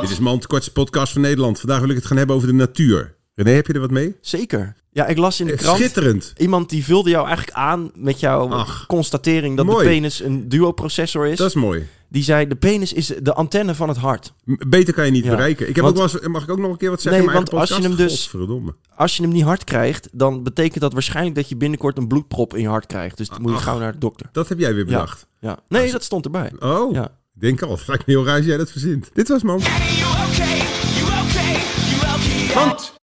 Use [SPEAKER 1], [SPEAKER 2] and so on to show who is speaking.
[SPEAKER 1] Dit is Mand, de kortste podcast van Nederland. Vandaag wil ik het gaan hebben over de natuur. René, heb je er wat mee?
[SPEAKER 2] Zeker. Ja, ik las in de
[SPEAKER 1] Eh,
[SPEAKER 2] krant.
[SPEAKER 1] Schitterend.
[SPEAKER 2] Iemand die vulde jou eigenlijk aan met jouw
[SPEAKER 1] Ach.
[SPEAKER 2] constatering dat
[SPEAKER 1] Mooi.
[SPEAKER 2] de penis een duoprocessor is.
[SPEAKER 1] Dat is mooi.
[SPEAKER 2] Die zei, de penis is de antenne van het hart.
[SPEAKER 1] M- Beter kan je niet
[SPEAKER 2] Ja.
[SPEAKER 1] bereiken. Ik heb
[SPEAKER 2] Want-
[SPEAKER 1] ook wel eens- mag ik ook nog een keer wat zeggen?
[SPEAKER 2] Nee,
[SPEAKER 1] in mijn
[SPEAKER 2] want
[SPEAKER 1] eigen
[SPEAKER 2] als je
[SPEAKER 1] podcast?
[SPEAKER 2] hem dus-
[SPEAKER 1] Godverdomme.
[SPEAKER 2] Als je hem niet hard krijgt, dan betekent dat waarschijnlijk dat je binnenkort een bloedprop in je hart krijgt. Dus dan moet je
[SPEAKER 1] Ach.
[SPEAKER 2] gauw naar de dokter.
[SPEAKER 1] Dat heb jij weer
[SPEAKER 2] Ja.
[SPEAKER 1] bedacht.
[SPEAKER 2] Ja. Nee, dat stond erbij.
[SPEAKER 1] Oh,
[SPEAKER 2] Ja.
[SPEAKER 1] ik denk al. Het lijkt me heel raar als jij dat verzint. Dit was Mand.
[SPEAKER 3] Daddy, you okay? You